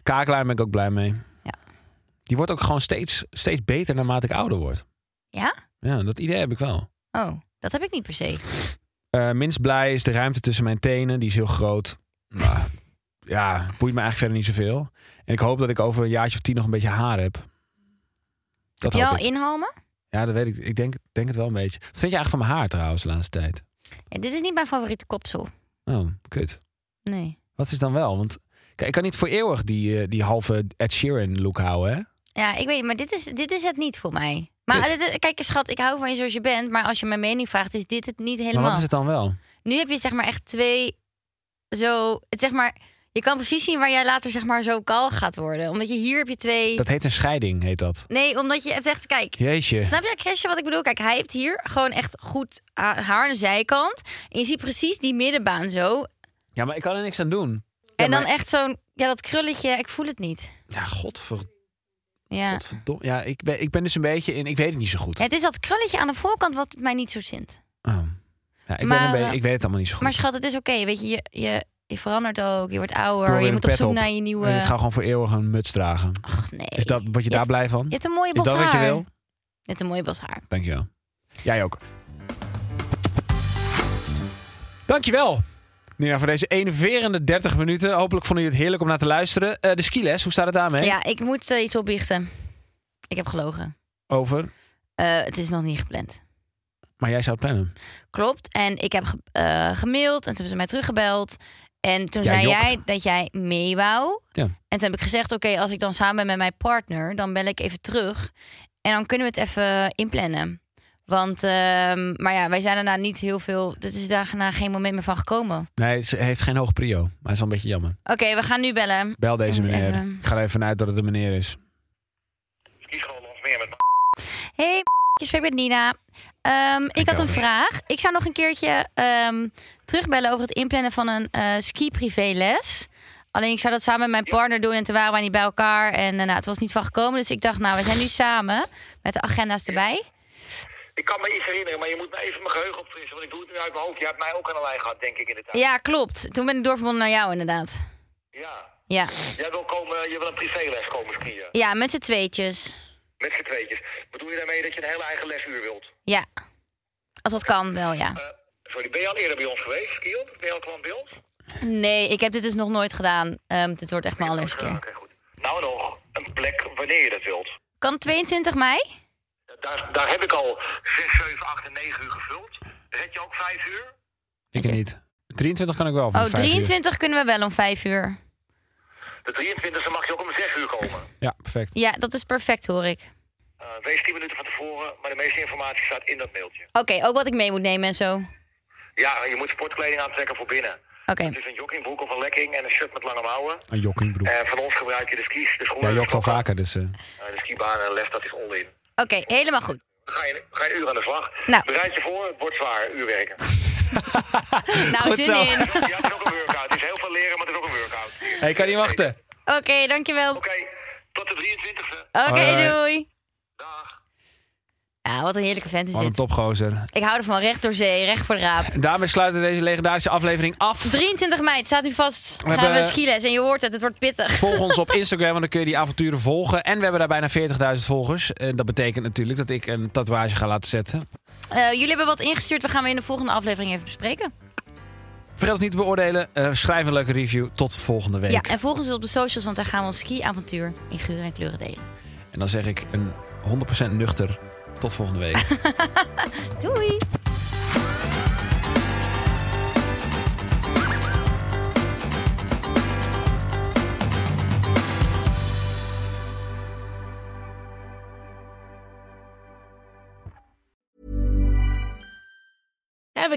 Speaker 1: Kaaklijn ben ik ook blij mee.
Speaker 2: Ja.
Speaker 1: Die wordt ook gewoon steeds, steeds beter naarmate ik ouder word.
Speaker 2: Ja?
Speaker 1: Ja, dat idee heb ik wel.
Speaker 2: Oh, dat heb ik niet per se.
Speaker 1: Eh, minst blij is de ruimte tussen mijn tenen. Die is heel groot. Nou, ja, boeit me eigenlijk verder niet zoveel. En ik hoop dat ik over een jaartje of tien nog een beetje haar heb. Dat
Speaker 2: Heb je
Speaker 1: hoop
Speaker 2: al
Speaker 1: ik.
Speaker 2: inhalmen?
Speaker 1: Ja, dat weet ik. Ik denk, denk het wel een beetje. Wat vind je eigenlijk van mijn haar trouwens de laatste tijd?
Speaker 2: Ja, dit is niet mijn favoriete kopsel.
Speaker 1: Oh, kut.
Speaker 2: Nee.
Speaker 1: Wat is dan wel? Want kijk, ik kan niet voor eeuwig die, eh, die halve Ed Sheeran look houden, hè?
Speaker 2: Ja, ik weet maar dit is, dit is het niet voor mij. Maar dit- kijk, schat, ik hou van je zoals je bent. Maar als je mijn mening vraagt, is dit het niet
Speaker 1: Maar
Speaker 2: helemaal.
Speaker 1: wat is het dan wel?
Speaker 2: Nu heb je zeg maar echt twee. Zo, het zeg maar. Je kan precies zien waar jij later zeg maar zo kaal gaat worden. Omdat je hier heb je twee.
Speaker 1: Dat heet een scheiding, heet dat.
Speaker 2: Nee, omdat je hebt echt. Kijk,
Speaker 1: Jeetje.
Speaker 2: Snap je, Christian, wat ik bedoel? Kijk, hij heeft hier gewoon echt goed ha- haar aan de zijkant. En je ziet precies die middenbaan zo.
Speaker 1: Ja, maar ik kan er niks aan doen.
Speaker 2: en dan
Speaker 1: maar-
Speaker 2: echt zo'n, ja, dat krulletje, ik voel het niet.
Speaker 1: Ja, godver,
Speaker 2: Ja.
Speaker 1: godverdomme. Ja, ik ben, ik ben dus een beetje in... Ik weet het niet zo goed.
Speaker 2: Het is dat krulletje aan de voorkant wat mij niet zo zint.
Speaker 1: Oh. Ja, ik, ben
Speaker 2: Maar,
Speaker 1: een beetje,
Speaker 2: eh,
Speaker 1: ik weet het allemaal niet zo goed.
Speaker 2: Maar schat, het is oké. Weet je, je, je, je verandert ook, je wordt
Speaker 1: Ik wil
Speaker 2: ouder,
Speaker 1: weer
Speaker 2: je
Speaker 1: een
Speaker 2: moet op
Speaker 1: pet
Speaker 2: zoek naar je nieuwe...
Speaker 1: En ik ga gewoon voor eeuwig een muts dragen.
Speaker 2: eh, Ach, nee.
Speaker 1: Is dat, word je daar
Speaker 2: hebt-
Speaker 1: blij van?
Speaker 2: Je hebt een mooie
Speaker 1: Is
Speaker 2: bos
Speaker 1: dat wat je
Speaker 2: haar.
Speaker 1: wil?
Speaker 2: Je hebt een mooie bos haar.
Speaker 1: Dankjewel. Jij ook. Dankjewel. Nina, voor deze enerverende 30 minuten. Hopelijk vonden jullie het heerlijk om naar te luisteren. Eh, de skiles, hoe staat het daarmee?
Speaker 2: Ja, ik moet eh, iets opbiechten. Ik heb gelogen.
Speaker 1: Over.
Speaker 2: Eh, het is nog niet gepland.
Speaker 1: Maar jij zou het plannen.
Speaker 2: Klopt. En ik heb ge- eh, gemaild en toen hebben ze mij teruggebeld. En toen
Speaker 1: Jij
Speaker 2: zei
Speaker 1: jokt.
Speaker 2: jij dat jij mee wou.
Speaker 1: Ja.
Speaker 2: En toen heb ik gezegd, oké, als ik dan samen ben met mijn partner, dan bel ik even terug. En dan kunnen we het even inplannen. Want, ehm, maar ja, wij zijn daarna niet heel veel... Dit is daarna geen moment meer van gekomen.
Speaker 1: Nee, het is- heeft geen hoog prio. Maar het is wel een beetje jammer.
Speaker 2: Oké, we gaan nu bellen.
Speaker 1: Bel deze
Speaker 2: Ik moet
Speaker 1: meneer.
Speaker 2: even-
Speaker 1: Ik ga er even vanuit dat het een meneer is.
Speaker 2: Hey, je spreekt met Nina. Ehm, ik had een
Speaker 1: Over.
Speaker 2: vraag. Ik zou nog een keertje ehm, terugbellen over het inplannen van een eh ski-privéles. Alleen ik zou dat samen met mijn partner doen en toen waren wij niet bij elkaar. En eh, nou, het was niet van gekomen. Dus ik dacht, nou, we zijn nu samen met de agenda's erbij.
Speaker 7: Ik kan me iets herinneren, maar je moet me even mijn geheugen opfrissen, want ik doe het nu uit mijn hoofd. Jij hebt mij ook aan de lijn gehad, denk ik, in de tijd.
Speaker 2: Ja, klopt. Toen ben ik doorverbonden naar jou, inderdaad.
Speaker 7: Ja.
Speaker 2: Ja,
Speaker 7: Jij wil, komen, je wil een privéles komen skiën,
Speaker 2: ja met z'n tweetjes.
Speaker 7: met z'n tweetjes. Bedoel je daarmee dat je een hele eigen lesuur wilt?
Speaker 2: Ja. Als dat kan, wel ja.
Speaker 7: Eh, sorry, ben je al eerder bij ons geweest, skiën? Ben je al kwam bij ons?
Speaker 2: Nee, ik heb dit dus nog nooit gedaan. Ehm, dit wordt echt mijn allereerste
Speaker 7: Ja,
Speaker 2: keer.
Speaker 7: Oké, goed. Nou nog, een plek wanneer je dat wilt.
Speaker 2: Kan 22 mei?
Speaker 7: Daar, daar heb ik al 6, 7, 8 en 9 uur gevuld. Red je ook 5 uur?
Speaker 1: Ik niet. 23 kan ik wel. Van
Speaker 2: Oh,
Speaker 1: de vijf uur.
Speaker 2: 23 kunnen we wel om 5 uur.
Speaker 7: De 23e mag je ook om 6 uur komen.
Speaker 1: Ja, perfect.
Speaker 2: Ja, dat is perfect hoor ik.
Speaker 7: Eh, wees 10 minuten van tevoren, maar de meeste informatie staat in dat mailtje.
Speaker 2: Oké, ook wat ik mee moet nemen en zo. Oké.
Speaker 7: Ja, je moet sportkleding aantrekken voor binnen. Het is een joggingbroek of een lekking en een shirt met lange mouwen.
Speaker 1: Een jokkingbroek.
Speaker 7: En van ons gebruik je de skis, de schoenen.
Speaker 1: Jij jokt al
Speaker 7: de sokken.
Speaker 1: vaker, dus... eh,
Speaker 7: Eh, de skibaan en les, dat is all-in.
Speaker 2: Oké, helemaal goed.
Speaker 7: Dan Ga je, ga je een uur aan de slag.
Speaker 2: Nou.
Speaker 7: Bereid je voor, het wordt zwaar, uur werken.
Speaker 2: Nou,
Speaker 1: Goed
Speaker 2: zin
Speaker 1: zo.
Speaker 2: in. Oké,
Speaker 7: ja, het is ook een workout. Het is heel veel leren, maar het is ook een workout. Oké,
Speaker 1: hey, ik kan niet wachten.
Speaker 2: dankjewel. Oké,
Speaker 7: tot de 23e.
Speaker 1: Hoi, hoi.
Speaker 2: doei.
Speaker 7: Dag.
Speaker 2: Ja, wat een heerlijke vent is
Speaker 1: Wat een
Speaker 2: dit.
Speaker 1: topgozer.
Speaker 2: Ik hou ervan. Recht door zee, recht voor de raap.
Speaker 1: En Daarmee sluiten we deze legendarische aflevering af.
Speaker 2: 23 mei, het staat nu vast.
Speaker 1: We
Speaker 2: Gaan we
Speaker 1: hebben-
Speaker 2: skiles en je hoort het, het wordt pittig.
Speaker 1: Volg ons op Instagram, want dan kun je die avonturen volgen. En we hebben daar bijna 40.000 volgers. En dat betekent natuurlijk dat ik een tatoeage ga laten zetten.
Speaker 2: Eh, jullie hebben wat ingestuurd, we gaan we in de volgende aflevering even bespreken.
Speaker 1: Vergeet ons niet te beoordelen. Eh, schrijf een leuke review. Tot volgende week.
Speaker 2: Ja, en volg ons op de socials, want daar gaan we ons ski-avontuur in geuren en kleuren delen.
Speaker 1: En dan zeg ik een 100% nuchter. Tot volgende week.
Speaker 2: Doei!
Speaker 8: Ever